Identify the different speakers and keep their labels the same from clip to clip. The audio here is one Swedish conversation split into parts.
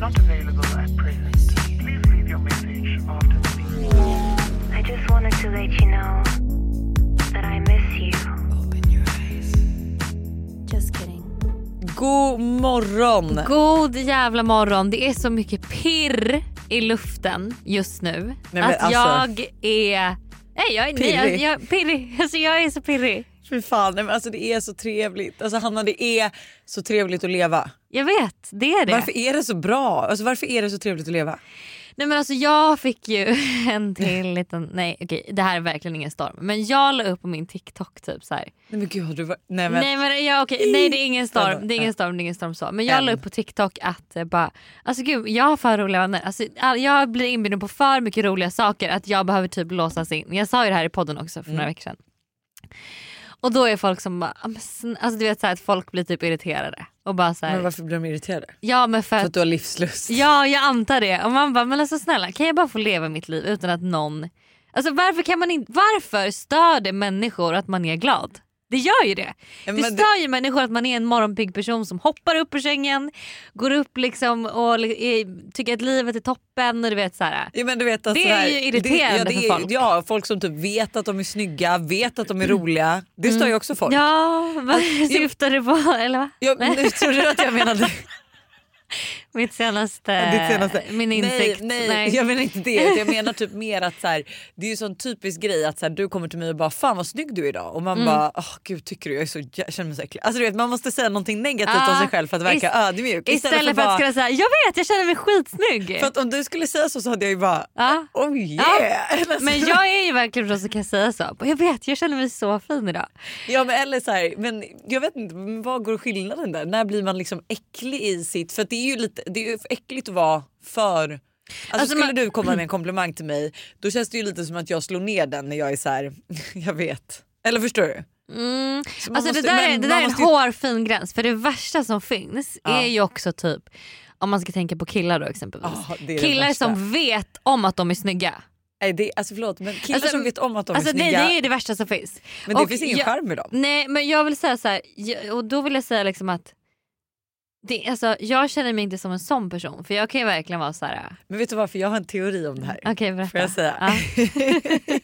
Speaker 1: not available at present. Please leave your message after the beep.
Speaker 2: I just wanted to let you know that I miss you. Just kidding.
Speaker 3: God morgon!
Speaker 4: God jävla morgon. Det är så mycket pirr i luften just nu.
Speaker 3: men
Speaker 4: att
Speaker 3: alltså-
Speaker 4: jag är... Nej, jag är nej, jag,
Speaker 3: Pirrig.
Speaker 4: jag, pirrig. Alltså, jag är så pirrig.
Speaker 3: Fy fan, nej, men alltså det är så trevligt. Alltså Hanna det är så trevligt att leva.
Speaker 4: Jag vet, det är det.
Speaker 3: Varför är det så bra? Alltså varför är det så trevligt att leva?
Speaker 4: Nej men alltså jag fick ju en till liten, nej okej det här är verkligen ingen storm men jag la upp på min TikTok typ så här.
Speaker 3: Nej men gud har du varit... Nej men.
Speaker 4: Nej men ja, okej, nej det är ingen storm, det är ingen storm, det är ingen storm så. Men jag la
Speaker 3: En.
Speaker 4: upp på TikTok att eh, bara, alltså gud jag har för roliga vänner. Alltså, all- jag blir inbjuden på för mycket roliga saker att jag behöver typ låsas in. Jag sa ju det här i podden också för några
Speaker 3: Mm.
Speaker 4: veckor sedan. Och då är folk som bara, ah, men sn- alltså du vet så här, att folk blir typ irriterade. Och bara så
Speaker 3: Men
Speaker 4: här,
Speaker 3: varför blir de irriterade?
Speaker 4: ja men för
Speaker 3: För
Speaker 4: att
Speaker 3: att du har livslust.
Speaker 4: Ja jag antar det. Och man bara men alltså snälla kan jag bara få leva mitt liv utan att någon... Alltså varför kan man inte... Varför stör det människor att man är glad? Det gör ju det.
Speaker 3: Ja,
Speaker 4: det
Speaker 3: men det-
Speaker 4: stör ju människor att man är en morgonpigg person som hoppar upp ur sängen, går upp liksom och li- är, tycker att livet är toppen och du vet såhär.
Speaker 3: Ja, men du vet, alltså,
Speaker 4: Det är ju irriterande
Speaker 3: ja,
Speaker 4: för
Speaker 3: är-
Speaker 4: folk.
Speaker 3: Ja, folk som typ vet att de är snygga, vet att de är roliga. Det stör ju också folk. Ja.
Speaker 4: Ja, vad
Speaker 3: Alltså,
Speaker 4: syftar du på? Eller va?
Speaker 3: men nu tror du att jag menade
Speaker 4: Mitt senaste...
Speaker 3: ditt senaste?
Speaker 4: Min insikt.
Speaker 3: Nej, nej, jag menar inte det. Jag menar typ mer att så här, det är ju en sån typisk grej att så här, du kommer till mig och bara “fan vad snygg du är idag” och man
Speaker 4: Mm.
Speaker 3: bara “åh gud tycker du jag är så jä- känner mig så äcklig”. Alltså du vet man måste säga någonting negativt om
Speaker 4: Ah,
Speaker 3: sig själv för att verka
Speaker 4: ist-
Speaker 3: ödmjuk.
Speaker 4: Istället, för att
Speaker 3: bara,
Speaker 4: skulle säga jag vet jag känner mig skitsnygg.
Speaker 3: för att om du skulle säga så så hade jag ju bara
Speaker 4: Ja.
Speaker 3: “oh yeah”. Eller, så,
Speaker 4: Men jag är ju verkligen sån som kan säga så. Jag vet, jag känner mig så fin idag.
Speaker 3: ja, men, eller så här, men jag vet inte, men vad går skillnaden där? När blir man liksom äcklig i sitt... För att det är ju lite, det är ju äckligt att vara för... Alltså,
Speaker 4: Alltså,
Speaker 3: skulle
Speaker 4: man-
Speaker 3: du komma med en komplimang till mig då känns det ju lite som att jag slår ner den när jag är så här, jag vet. Eller förstår du?
Speaker 4: Mm.
Speaker 3: Så man
Speaker 4: Alltså det
Speaker 3: måste-
Speaker 4: där, är,
Speaker 3: men man
Speaker 4: det där är en
Speaker 3: måste ju-
Speaker 4: hårfin gräns. För det värsta som finns
Speaker 3: Ja.
Speaker 4: är ju också typ, om man ska tänka på killar då exempelvis.
Speaker 3: Ja, Ah, det är det
Speaker 4: killar
Speaker 3: värsta.
Speaker 4: som vet om att de är snygga.
Speaker 3: Nej, det, alltså förlåt men killar
Speaker 4: Alltså,
Speaker 3: som vet om att de
Speaker 4: alltså
Speaker 3: är snygga
Speaker 4: Nej, det är det värsta som finns.
Speaker 3: men det
Speaker 4: Och
Speaker 3: finns ingen
Speaker 4: jag-
Speaker 3: charm i dem.
Speaker 4: Nej men jag vill säga så här, jag- och då vill jag säga liksom att det, alltså, jag känner mig inte som en sån person för jag kan ju verkligen vara så här.
Speaker 3: Men vet du varför jag har en teori om det här?
Speaker 4: okej berätta.
Speaker 3: Får jag säga?
Speaker 4: Ja.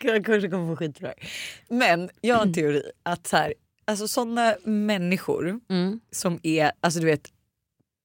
Speaker 3: Gud, jag kanske kommer få skit för det här. Men jag har en teori att så här, alltså sådana människor
Speaker 4: Mm.
Speaker 3: som är, alltså du vet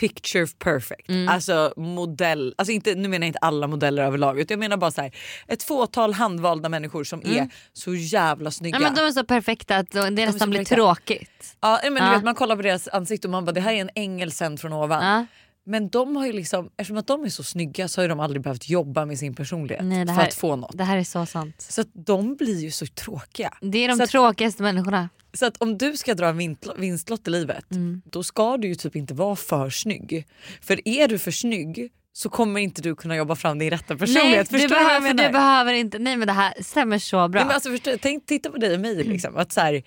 Speaker 3: picture perfect,
Speaker 4: Mm.
Speaker 3: alltså modell, alltså inte, nu menar jag inte alla modeller överlag utan jag menar bara så här, ett fåtal handvalda människor som är så jävla snygga.
Speaker 4: Mm. Ja, men de är så perfekta att det nästan blir
Speaker 3: perfekta.
Speaker 4: tråkigt.
Speaker 3: Ja, men du
Speaker 4: Ja.
Speaker 3: Vet, man kollar på deras ansikte och man bara det här är en ängel sänd från ovan.
Speaker 4: Ja.
Speaker 3: Men de har ju liksom, eftersom att de är så snygga så har ju de aldrig behövt jobba med sin personlighet
Speaker 4: Nej, det
Speaker 3: för
Speaker 4: här-
Speaker 3: att få något.
Speaker 4: Det här är så sant.
Speaker 3: Så att de blir ju så tråkiga.
Speaker 4: Det är de
Speaker 3: Så att-
Speaker 4: tråkigaste människorna.
Speaker 3: Så att om du ska dra en vintlo- vinstlott i livet
Speaker 4: Mm.
Speaker 3: då ska du ju typ inte vara för snygg. För är du för snygg så kommer inte du kunna jobba fram din rätta
Speaker 4: Nej,
Speaker 3: personlighet.
Speaker 4: du
Speaker 3: Förstår du vad jag
Speaker 4: behöver,
Speaker 3: menar?
Speaker 4: du behöver inte. Nej men det här stämmer så bra. Mm.
Speaker 3: Nej, men alltså, förstår, tänk, titta på dig och mig. Liksom, att så här,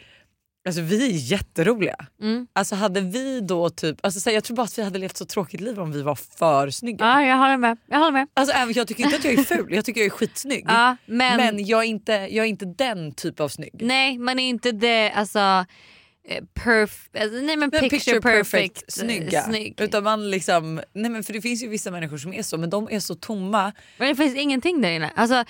Speaker 3: alltså, vi är jätteroliga.
Speaker 4: Mm.
Speaker 3: Alltså, hade vi då typ, alltså, så här, jag tror bara att vi hade levt så tråkigt liv om vi var för snygga.
Speaker 4: Ja jag håller med. Jag håller med.
Speaker 3: Alltså, även- jag tycker inte att jag är ful, jag tycker jag är skitsnygg.
Speaker 4: Ja, men,
Speaker 3: men jag, är inte, jag är inte den typ av snygg.
Speaker 4: nej man är inte det alltså eh, perf- alltså, nej men
Speaker 3: Men
Speaker 4: picture, perfect, eh,
Speaker 3: snygga.
Speaker 4: Snygg.
Speaker 3: Utan man liksom, nej men för det finns ju vissa människor som är så men de är så tomma.
Speaker 4: Men det finns ingenting där inne. Alltså,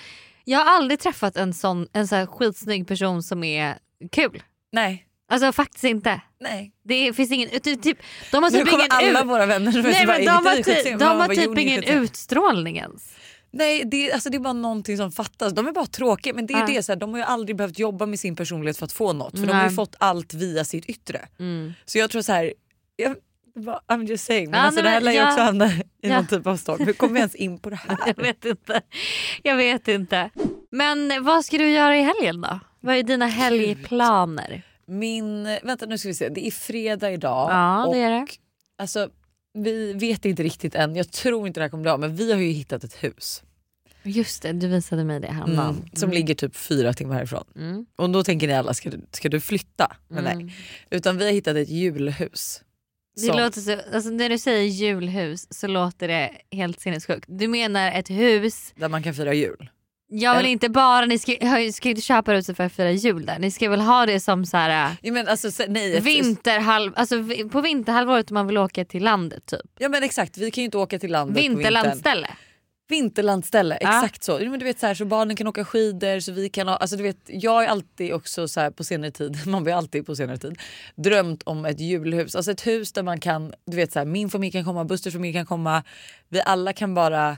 Speaker 4: jag har aldrig träffat en sån en så här skitsnygg person som är kul.
Speaker 3: Nej,
Speaker 4: Alltså faktiskt inte.
Speaker 3: nej.
Speaker 4: Det är, finns ingen, typ, typ, de har
Speaker 3: Nu
Speaker 4: typ
Speaker 3: kommer
Speaker 4: ingen
Speaker 3: alla
Speaker 4: ut-
Speaker 3: våra vänner och
Speaker 4: Nej,
Speaker 3: bara,
Speaker 4: men
Speaker 3: "Är
Speaker 4: de
Speaker 3: inte du
Speaker 4: har,
Speaker 3: skitsnygg?"
Speaker 4: ty- de
Speaker 3: Man bara,
Speaker 4: har
Speaker 3: "Jo,
Speaker 4: typ
Speaker 3: ni är
Speaker 4: ingen
Speaker 3: skitsnygg."
Speaker 4: utstrålning ens.
Speaker 3: Nej, det, är- alltså det är bara någonting som fattas. De är bara tråkiga men det är
Speaker 4: Ja.
Speaker 3: det, så här, de har ju aldrig behövt jobba med sin personlighet för att få något för de
Speaker 4: Nej. Mm.
Speaker 3: har ju fått allt via sitt yttre. Så jag tror så här, jag, bara, I'm just saying, men
Speaker 4: Ja,
Speaker 3: alltså,
Speaker 4: nej,
Speaker 3: det här
Speaker 4: men
Speaker 3: lär ju
Speaker 4: jag-
Speaker 3: också hamna i
Speaker 4: Ja.
Speaker 3: någon typ av storm. Hur kom vi ens in på det här?
Speaker 4: Jag vet inte. Jag vet inte. Men vad ska du göra i helgen då? Vad är dina helgplaner?
Speaker 3: Min, vänta nu ska vi se, det är fredag idag
Speaker 4: Ja,
Speaker 3: och
Speaker 4: det är det.
Speaker 3: alltså, vi vet inte riktigt än, jag tror inte det här kommer bli av men vi har ju hittat ett hus
Speaker 4: Just det, du visade mig det
Speaker 3: mm,
Speaker 4: häromdagen. Mm.
Speaker 3: som ligger typ fyra timmar härifrån.
Speaker 4: Mm.
Speaker 3: Och då tänker ni alla, ska du, ska du flytta? Men
Speaker 4: Mm.
Speaker 3: nej. Utan vi har hittat ett julhus.
Speaker 4: Det
Speaker 3: Som-
Speaker 4: låter så, alltså när du säger julhus så låter det helt sinnessjukt. Du menar ett hus
Speaker 3: Där man kan fira jul.
Speaker 4: Jag vill
Speaker 3: Eller-
Speaker 4: inte bara, ni ska, hö- ska inte köpa ruset för att fira jul där. Ni ska väl ha det som så här,
Speaker 3: Ja, men alltså, se- nej,
Speaker 4: äh,
Speaker 3: ett-
Speaker 4: vinterhalv, alltså, vi- på vinterhalvåret om man vill åka till landet typ.
Speaker 3: ja, men exakt, vi kan ju inte åka till landet på vintern.
Speaker 4: Vinterlandställe.
Speaker 3: Vinterlandställe,
Speaker 4: Ja.
Speaker 3: exakt så. Jo, Men du vet, så, här, så barnen kan åka skidor. Så vi kan ha, alltså, du vet, jag är alltid också så här, på senare tid, man blir alltid på senare tid, drömt om ett julhus. Alltså ett hus där man kan, du vet så här, min familj kan komma, Busters familj kan komma. Vi alla kan bara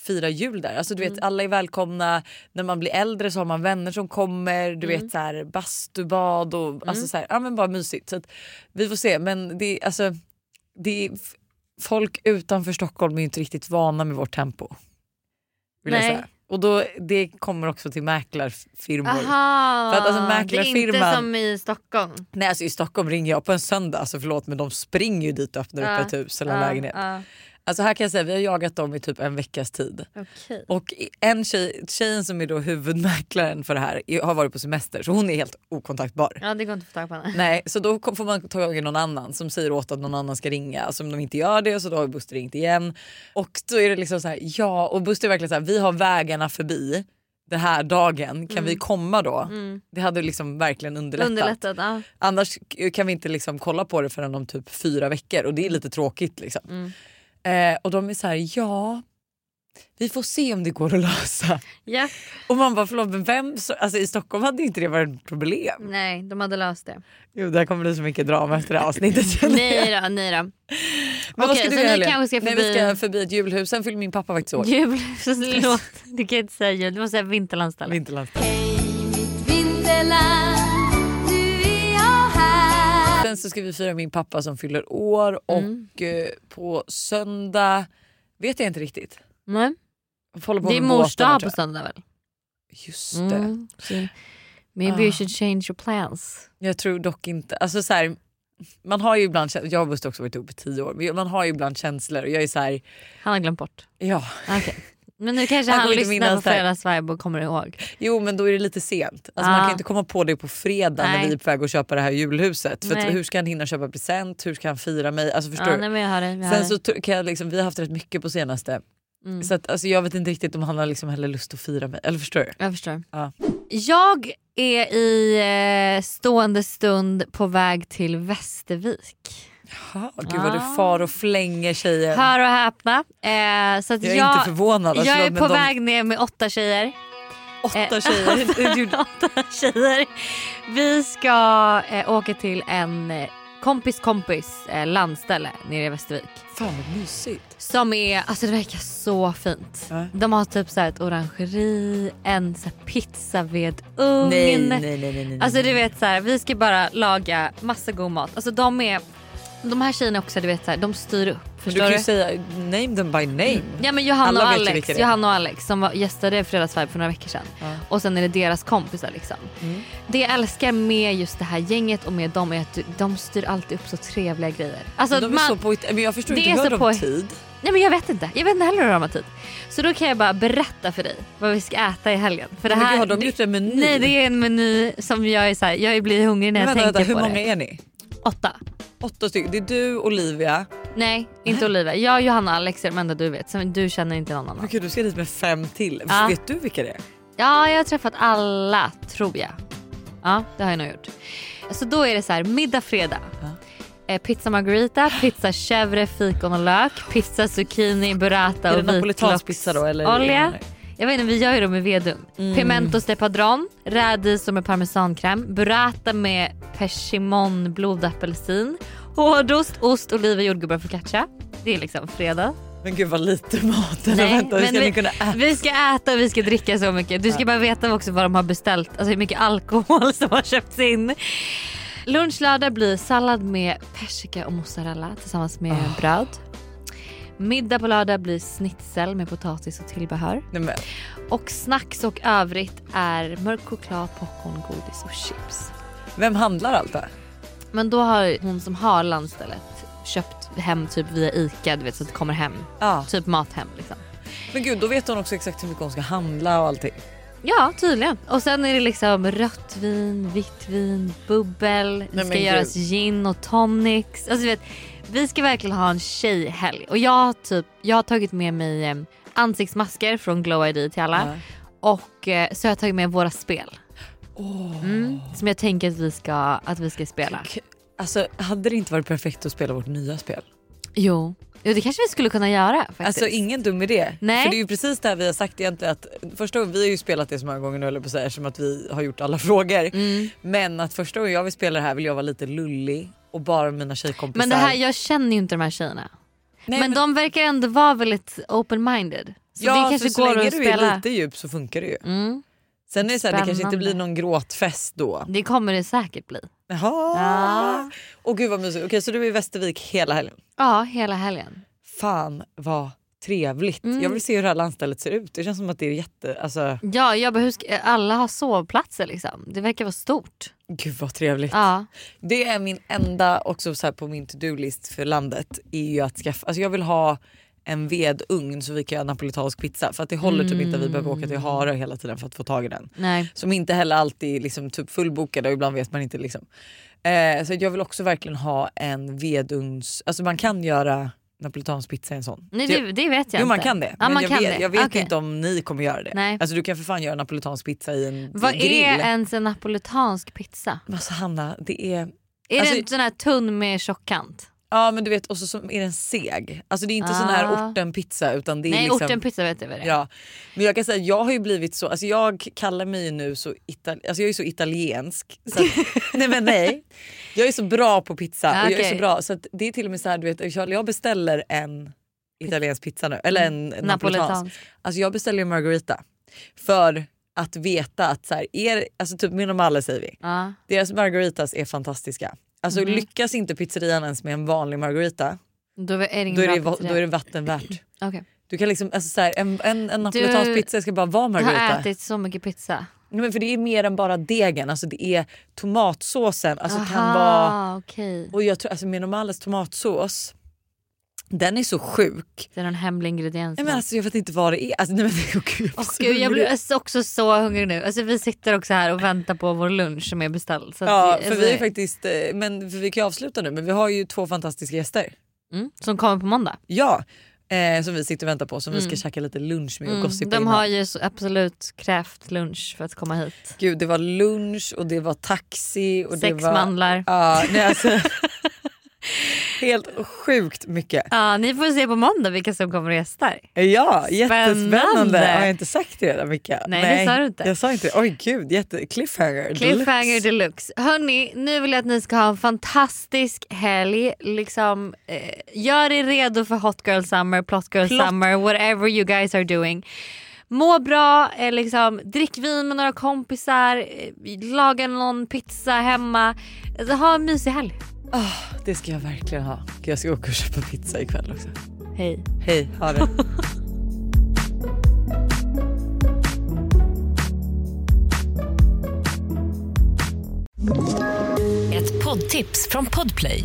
Speaker 3: fira jul där. Alltså, du vet, Alla är välkomna, när man blir äldre så har man vänner som kommer, du vet så här, bastubad och alltså, så här, ja, men bara mysigt. Så att, vi får se men det, är- alltså, det är, f- folk utanför Stockholm är ju inte riktigt vana med vårt tempo vill jag
Speaker 4: Nej.
Speaker 3: säga. Och då, det kommer också till mäklarfirmor.
Speaker 4: Aha,
Speaker 3: För att, alltså,
Speaker 4: det är
Speaker 3: mäklarfirman-
Speaker 4: inte som i Stockholm.
Speaker 3: Nej, alltså, I Stockholm ringer jag på en söndag, alltså, förlåt men de springer ju dit och öppnar
Speaker 4: Ja,
Speaker 3: upp ett hus eller en
Speaker 4: Ja,
Speaker 3: lägenhet.
Speaker 4: ja,
Speaker 3: Alltså, här kan jag säga, vi har jagat dem i typ en veckas tid.
Speaker 4: okej.
Speaker 3: Och i- en tjej, tjejen som är då huvudmäklaren för det här i- har varit på semester så hon är helt okontaktbar.
Speaker 4: Ja det går inte att få tag på henne.
Speaker 3: Nej, så då kom- får man ta tag i någon annan som säger åt att någon annan ska ringa. Alltså om de inte gör det så då har Buster ringt igen. Och då är det liksom så här, ja och Buster är verkligen så här, vi har vägarna förbi den här dagen, kan vi komma då? Det hade liksom verkligen underlättat.
Speaker 4: Mm. Underlättat. Ja.
Speaker 3: Annars k- kan vi inte liksom kolla på det förrän om typ fyra veckor och det är
Speaker 4: Mm.
Speaker 3: lite tråkigt. Liksom. Eh, och de är så här, ja vi får se om det går att lösa.
Speaker 4: ja.
Speaker 3: Och man bara förlåt men vem, så, alltså i Stockholm hade inte det varit ett problem.
Speaker 4: Nej de hade löst det.
Speaker 3: Jo det här kommer bli så mycket drama efter det här avsnittet. känner jag.
Speaker 4: Nej då, nej då.
Speaker 3: Men vad
Speaker 4: Okej,
Speaker 3: ska du
Speaker 4: så
Speaker 3: göra
Speaker 4: ni
Speaker 3: Helene?
Speaker 4: kanske ska
Speaker 3: Nej, vi
Speaker 4: förbi-
Speaker 3: ska förbi ett julhus, sen fyller min pappa faktiskt år.
Speaker 4: Jul, så låt, du kan inte säga jul, du måste säga vinterlandställe.
Speaker 3: Vinterlandställe.
Speaker 5: Vinterland, nu är jag här.
Speaker 3: Sen så ska vi fira min pappa som fyller år och
Speaker 4: Mm.
Speaker 3: eh, på söndag vet jag inte riktigt.
Speaker 4: Nej.
Speaker 3: Vi får hålla på
Speaker 4: Det är
Speaker 3: med
Speaker 4: mors
Speaker 3: båtarna,
Speaker 4: dag
Speaker 3: tror
Speaker 4: på
Speaker 3: jag.
Speaker 4: söndag väl?
Speaker 3: Just det.
Speaker 4: Mm. Så Maybe you
Speaker 3: Ah.
Speaker 4: should change your plans.
Speaker 3: Jag tror dock inte, alltså så här, man har ju ibland, käns- jag har Buster också varit ihop i tio år, men man har ju ibland känslor och jag är så här,
Speaker 4: Han har glömt bort.
Speaker 3: ja
Speaker 4: Okej. Men nu kanske
Speaker 3: Han
Speaker 4: han,
Speaker 3: kommer inte
Speaker 4: lyssnar
Speaker 3: minnas
Speaker 4: på
Speaker 3: det här.
Speaker 4: Fredagsvibe och kommer ihåg.
Speaker 3: jo men då är det lite sent. Alltså Man
Speaker 4: Ah.
Speaker 3: kan ju inte komma på det på fredag när
Speaker 4: Nej.
Speaker 3: vi är på väg att köpa det här julhuset. För att,
Speaker 4: Nej.
Speaker 3: hur ska han hinna köpa present, hur ska han fira mig? Alltså förstår
Speaker 4: Ja,
Speaker 3: du?
Speaker 4: nej, men jag har det. Jag har
Speaker 3: Sen
Speaker 4: det.
Speaker 3: så tr- kan jag liksom, vi har haft rätt mycket på senaste.
Speaker 4: Mm.
Speaker 3: Så att, alltså, jag vet inte riktigt om han har liksom heller lust att fira mig. Eller förstår du?
Speaker 4: Jag förstår.
Speaker 3: Ja.
Speaker 4: Jag är i eh, stående stund på väg till Västervik.
Speaker 3: Ha, gud vad
Speaker 4: Ah.
Speaker 3: du far och flänger tjejen.
Speaker 4: Hör och häpna. Eh, så att
Speaker 3: jag är
Speaker 4: jag,
Speaker 3: inte förvånad. Alltså,
Speaker 4: jag är
Speaker 3: förlåt, men de
Speaker 4: på väg ner med åtta tjejer.
Speaker 3: Åtta
Speaker 4: eh,
Speaker 3: tjejer. Det gjorde-
Speaker 4: åtta tjejer. Vi ska eh, åka till en eh, kompis kompis eh, landställe nere i Västervik.
Speaker 3: Fan vad mysigt.
Speaker 4: Som är, alltså det verkar så fint.
Speaker 3: Ja.
Speaker 4: De har typ så här ett orangeri, en så här pizzavedugn.
Speaker 3: Nej, nej, nej, nej, nej, nej.
Speaker 4: Alltså du vet så här, vi ska bara laga massa god mat. Alltså de är, de här tjejerna också du vet så här, de styr upp.
Speaker 3: Men du
Speaker 4: Förstår
Speaker 3: kan
Speaker 4: du?
Speaker 3: ju säga name them by name.
Speaker 4: Ja men
Speaker 3: Alla
Speaker 4: Johanna och
Speaker 3: vet ju
Speaker 4: Alex,
Speaker 3: vilka det är.
Speaker 4: Johanna och Alex som var, gästade Fredagsvibe för några veckor sedan. Och sen är det deras kompisar liksom.
Speaker 3: Mm.
Speaker 4: Det jag älskar med just det här gänget och med dem är att du- de styr alltid upp så trevliga grejer. Alltså,
Speaker 3: de är
Speaker 4: man,
Speaker 3: så på, men jag förstår
Speaker 4: det
Speaker 3: inte
Speaker 4: är
Speaker 3: hur
Speaker 4: så
Speaker 3: de
Speaker 4: på-
Speaker 3: har tid.
Speaker 4: Nej men jag vet inte, jag vet inte heller hur de har tid. Så då kan jag bara berätta för dig vad vi ska äta i helgen. För det
Speaker 3: Men
Speaker 4: här,
Speaker 3: gud, har de gjort en meny?
Speaker 4: Nej det är en meny som jag är så här, jag blir hungrig när
Speaker 3: Men
Speaker 4: jag
Speaker 3: vänta,
Speaker 4: tänker
Speaker 3: vänta, hur
Speaker 4: på
Speaker 3: många
Speaker 4: det.
Speaker 3: är ni?
Speaker 4: Åtta.
Speaker 3: Åtta stycken. Det är du, Olivia.
Speaker 4: Nej
Speaker 3: Äh?
Speaker 4: inte Olivia, jag, Johanna och Alex är de enda du vet. Sen du känner inte någon annan.
Speaker 3: Men gud, du ska dit med fem till.
Speaker 4: Ja.
Speaker 3: Vet du vilka det är?
Speaker 4: Ja, jag har träffat alla tror jag. Ja, det har jag nog gjort. Så då är det så här, middag fredag. Eh, Pizza margarita, pizza chèvre, fikon och lök, pizza zucchini, burrata
Speaker 3: Är
Speaker 4: och
Speaker 3: det napolitansk pizza då, eller?
Speaker 4: vitlöksolja. Jag vet inte, vi gör ju dem i vedugn.
Speaker 3: Mm.
Speaker 4: Pimentos de padron, rädisor med parmesankräm, burrata med persimon, blodapelsin, hårdost, ost, oliver, jordgubbar och focaccia. Det är liksom fredag.
Speaker 3: Men gud vad lite mat. Eller
Speaker 4: Nej,
Speaker 3: vänta, hur ska
Speaker 4: men
Speaker 3: ni kunna äta?
Speaker 4: Vi ska äta och vi ska dricka så mycket. Du ska bara veta också vad de har beställt. Alltså hur mycket alkohol som har köpts in. Lunch lördag blir sallad med persika och mozzarella tillsammans med
Speaker 3: Ah.
Speaker 4: bröd. Middag på lördag blir schnitzel med potatis och tillbehör.
Speaker 3: Nej, men.
Speaker 4: Och snacks och övrigt är mörk choklad, popcorn, godis och chips.
Speaker 3: Vem handlar allt det här?
Speaker 4: Men då har hon som har landstället köpt hem typ via ICA, du vet så att det kommer hem.
Speaker 3: Ja.
Speaker 4: Typ mat hem liksom.
Speaker 3: Men gud, då vet hon också exakt hur mycket hon ska handla och allting.
Speaker 4: Ja tydligen. Och sen är det liksom rött vin, vitt vin, bubbel. Det
Speaker 3: men
Speaker 4: ska
Speaker 3: gud.
Speaker 4: göras gin och tonics. Alltså, du vet, vi ska verkligen ha en tjejhelg. Och jag, har typ, jag har tagit med mig eh, ansiktsmasker från Glow ID till alla. Och eh, så har jag tagit med våra spel. Mm, som jag tänker att vi ska, att vi ska spela.
Speaker 3: K- Alltså hade det inte varit perfekt att spela vårt nya spel?
Speaker 4: Jo. jo, det kanske vi skulle kunna göra faktiskt.
Speaker 3: Alltså ingen dum idé.
Speaker 4: Nej.
Speaker 3: För det är ju precis det här vi har sagt egentligen att första gången, vi har ju spelat det så många gånger nu höll jag på att säga eftersom att vi har gjort alla frågor.
Speaker 4: Mm.
Speaker 3: Men att första gången jag vill spela det här vill jag vara lite lullig och bara mina tjejkompisar.
Speaker 4: men det här, jag känner ju inte de här tjejerna.
Speaker 3: Nej,
Speaker 4: men, de verkar ändå vara väldigt open-minded. Så
Speaker 3: ja,
Speaker 4: det kanske
Speaker 3: för så
Speaker 4: går
Speaker 3: länge
Speaker 4: att
Speaker 3: du är
Speaker 4: spela.
Speaker 3: lite djup så funkar det ju.
Speaker 4: Mm,
Speaker 3: Sen är det så här, det kanske inte
Speaker 4: Spännande.
Speaker 3: blir någon gråtfest då.
Speaker 4: det kommer det säkert bli.
Speaker 3: Jaha.
Speaker 4: Ja.
Speaker 3: Och gud vad mysigt. Okej så du är i Västervik hela helgen.
Speaker 4: Ja, hela helgen.
Speaker 3: Fan vad trevligt.
Speaker 4: Mm.
Speaker 3: Jag vill se hur det här landstället ser ut. Det känns som att det är jätte... Alltså,
Speaker 4: Ja, jag bara, hur ska, alla har sovplatser liksom. Det verkar vara stort.
Speaker 3: gud vad trevligt.
Speaker 4: Ja.
Speaker 3: Det är min enda också så här på min to-do-list för landet. Är ju att skaffa, alltså jag vill ha en vedugn så vi kan göra napolitansk pizza. För att det håller typ inte att vi behöver åka
Speaker 4: Mm.
Speaker 3: till Harö hela tiden för att få tag i den.
Speaker 4: Nej.
Speaker 3: Som inte heller alltid är liksom typ fullbokade och ibland vet man inte. Liksom. Eh, så att jag vill också verkligen ha en vedugns... Alltså man kan göra napolitansk pizza i en sån.
Speaker 4: Nej,
Speaker 3: Så jag-
Speaker 4: det, det vet jag
Speaker 3: Jo
Speaker 4: inte.
Speaker 3: man kan det.
Speaker 4: Ja,
Speaker 3: men
Speaker 4: man
Speaker 3: jag,
Speaker 4: kan
Speaker 3: vet,
Speaker 4: det.
Speaker 3: jag vet
Speaker 4: Okej.
Speaker 3: inte om ni kommer göra det.
Speaker 4: Nej.
Speaker 3: Alltså du kan för fan göra napolitansk pizza i en, i en
Speaker 4: Vad
Speaker 3: grill.
Speaker 4: är ens en napolitansk pizza?
Speaker 3: Men Alltså Hanna, det är...
Speaker 4: Är
Speaker 3: Alltså-
Speaker 4: det en sån här tunn med tjockkant?
Speaker 3: Ja men du vet och så så är den seg. Alltså det är inte sån här
Speaker 4: Ah.
Speaker 3: ortenpizza utan det är
Speaker 4: Nej,
Speaker 3: liksom...
Speaker 4: ortenpizza vet jag vad det är.
Speaker 3: Ja. Men jag kan säga jag har ju blivit så, alltså jag kallar mig ju nu så, itali- alltså jag är så italiensk. Så att, nej men nej. Jag är så bra på pizza och jag är så
Speaker 4: Okej.
Speaker 3: bra så att det är till och med så här du vet Charlie, jag beställer en italiensk pizza nu eller en napolitansk.
Speaker 4: Napolitansk.
Speaker 3: Alltså jag beställer ju margarita för att veta att så här, er, alltså typ min och Malle säger vi,
Speaker 4: Ja.
Speaker 3: deras margaritas är fantastiska. Alltså
Speaker 4: Mhm.
Speaker 3: lyckas inte pizzerian ens med en vanlig margarita
Speaker 4: Då är det ingen
Speaker 3: då är, det,
Speaker 4: bra
Speaker 3: va-
Speaker 4: pizzeria.
Speaker 3: då är det vatten värt.
Speaker 4: Okej.
Speaker 3: Du kan liksom, alltså så här, en, en, en napolitansk
Speaker 4: Du
Speaker 3: pizza ska bara vara
Speaker 4: Jag har
Speaker 3: margarita.
Speaker 4: ätit så mycket pizza.
Speaker 3: Nej, men för det är mer än bara degen, alltså det är tomatsåsen. Alltså kan
Speaker 4: Aha,
Speaker 3: vara,
Speaker 4: okej.
Speaker 3: och jag tror, alltså Menomales tomatsås, den är så sjuk.
Speaker 4: Det är någon hemlig ingrediens.
Speaker 3: Nej, men alltså, jag vet inte vad det är. Alltså, nej, men, oh, gud, jag,
Speaker 4: Åh,
Speaker 3: får så
Speaker 4: Gud, jag
Speaker 3: hungrig.
Speaker 4: blir också så hungrig nu. Alltså, vi sitter också här och väntar på vår lunch som är beställd. Så att
Speaker 3: Ja,
Speaker 4: vi-
Speaker 3: för
Speaker 4: alltså,
Speaker 3: vi, är faktiskt, eh, men, för vi kan ju avsluta nu men vi har ju två fantastiska gäster.
Speaker 4: mm, som kommer på måndag.
Speaker 3: Ja, eh, som vi sitter och väntar på som vi ska käka lite lunch med och
Speaker 4: Mm,
Speaker 3: gossipa
Speaker 4: de
Speaker 3: innan.
Speaker 4: har ju så absolut krävt lunch för att komma hit.
Speaker 3: Gud, det var lunch och det var taxi. Och
Speaker 4: Sex
Speaker 3: det var,
Speaker 4: mandlar.
Speaker 3: Ja, nej, alltså, helt sjukt mycket.
Speaker 4: Ja, ni får se på måndag vilka som kommer och gästar.
Speaker 3: Ja, jättespännande.
Speaker 4: Spännande.
Speaker 3: Har jag inte sagt det redan Micke?
Speaker 4: Nej, det sa du inte.
Speaker 3: Jag sa inte det. Oj gud, jätte cliffhanger.
Speaker 4: Cliffhanger
Speaker 3: deluxe.
Speaker 4: deluxe. Hörni, nu vill jag att ni ska ha en fantastisk helg. Liksom, eh, gör er redo för hot girl summer, plot girl
Speaker 3: Plot.
Speaker 4: summer, whatever you guys are doing. Må bra, eh, liksom, drick vin med några kompisar, eh, laga någon pizza hemma. Alltså, ha en mysig helg.
Speaker 3: Det ska jag verkligen ha. Gud, jag ska åka och köpa pizza ikväll också.
Speaker 4: Hej.
Speaker 3: Hej, ha det.
Speaker 6: Ett poddtips från Podplay.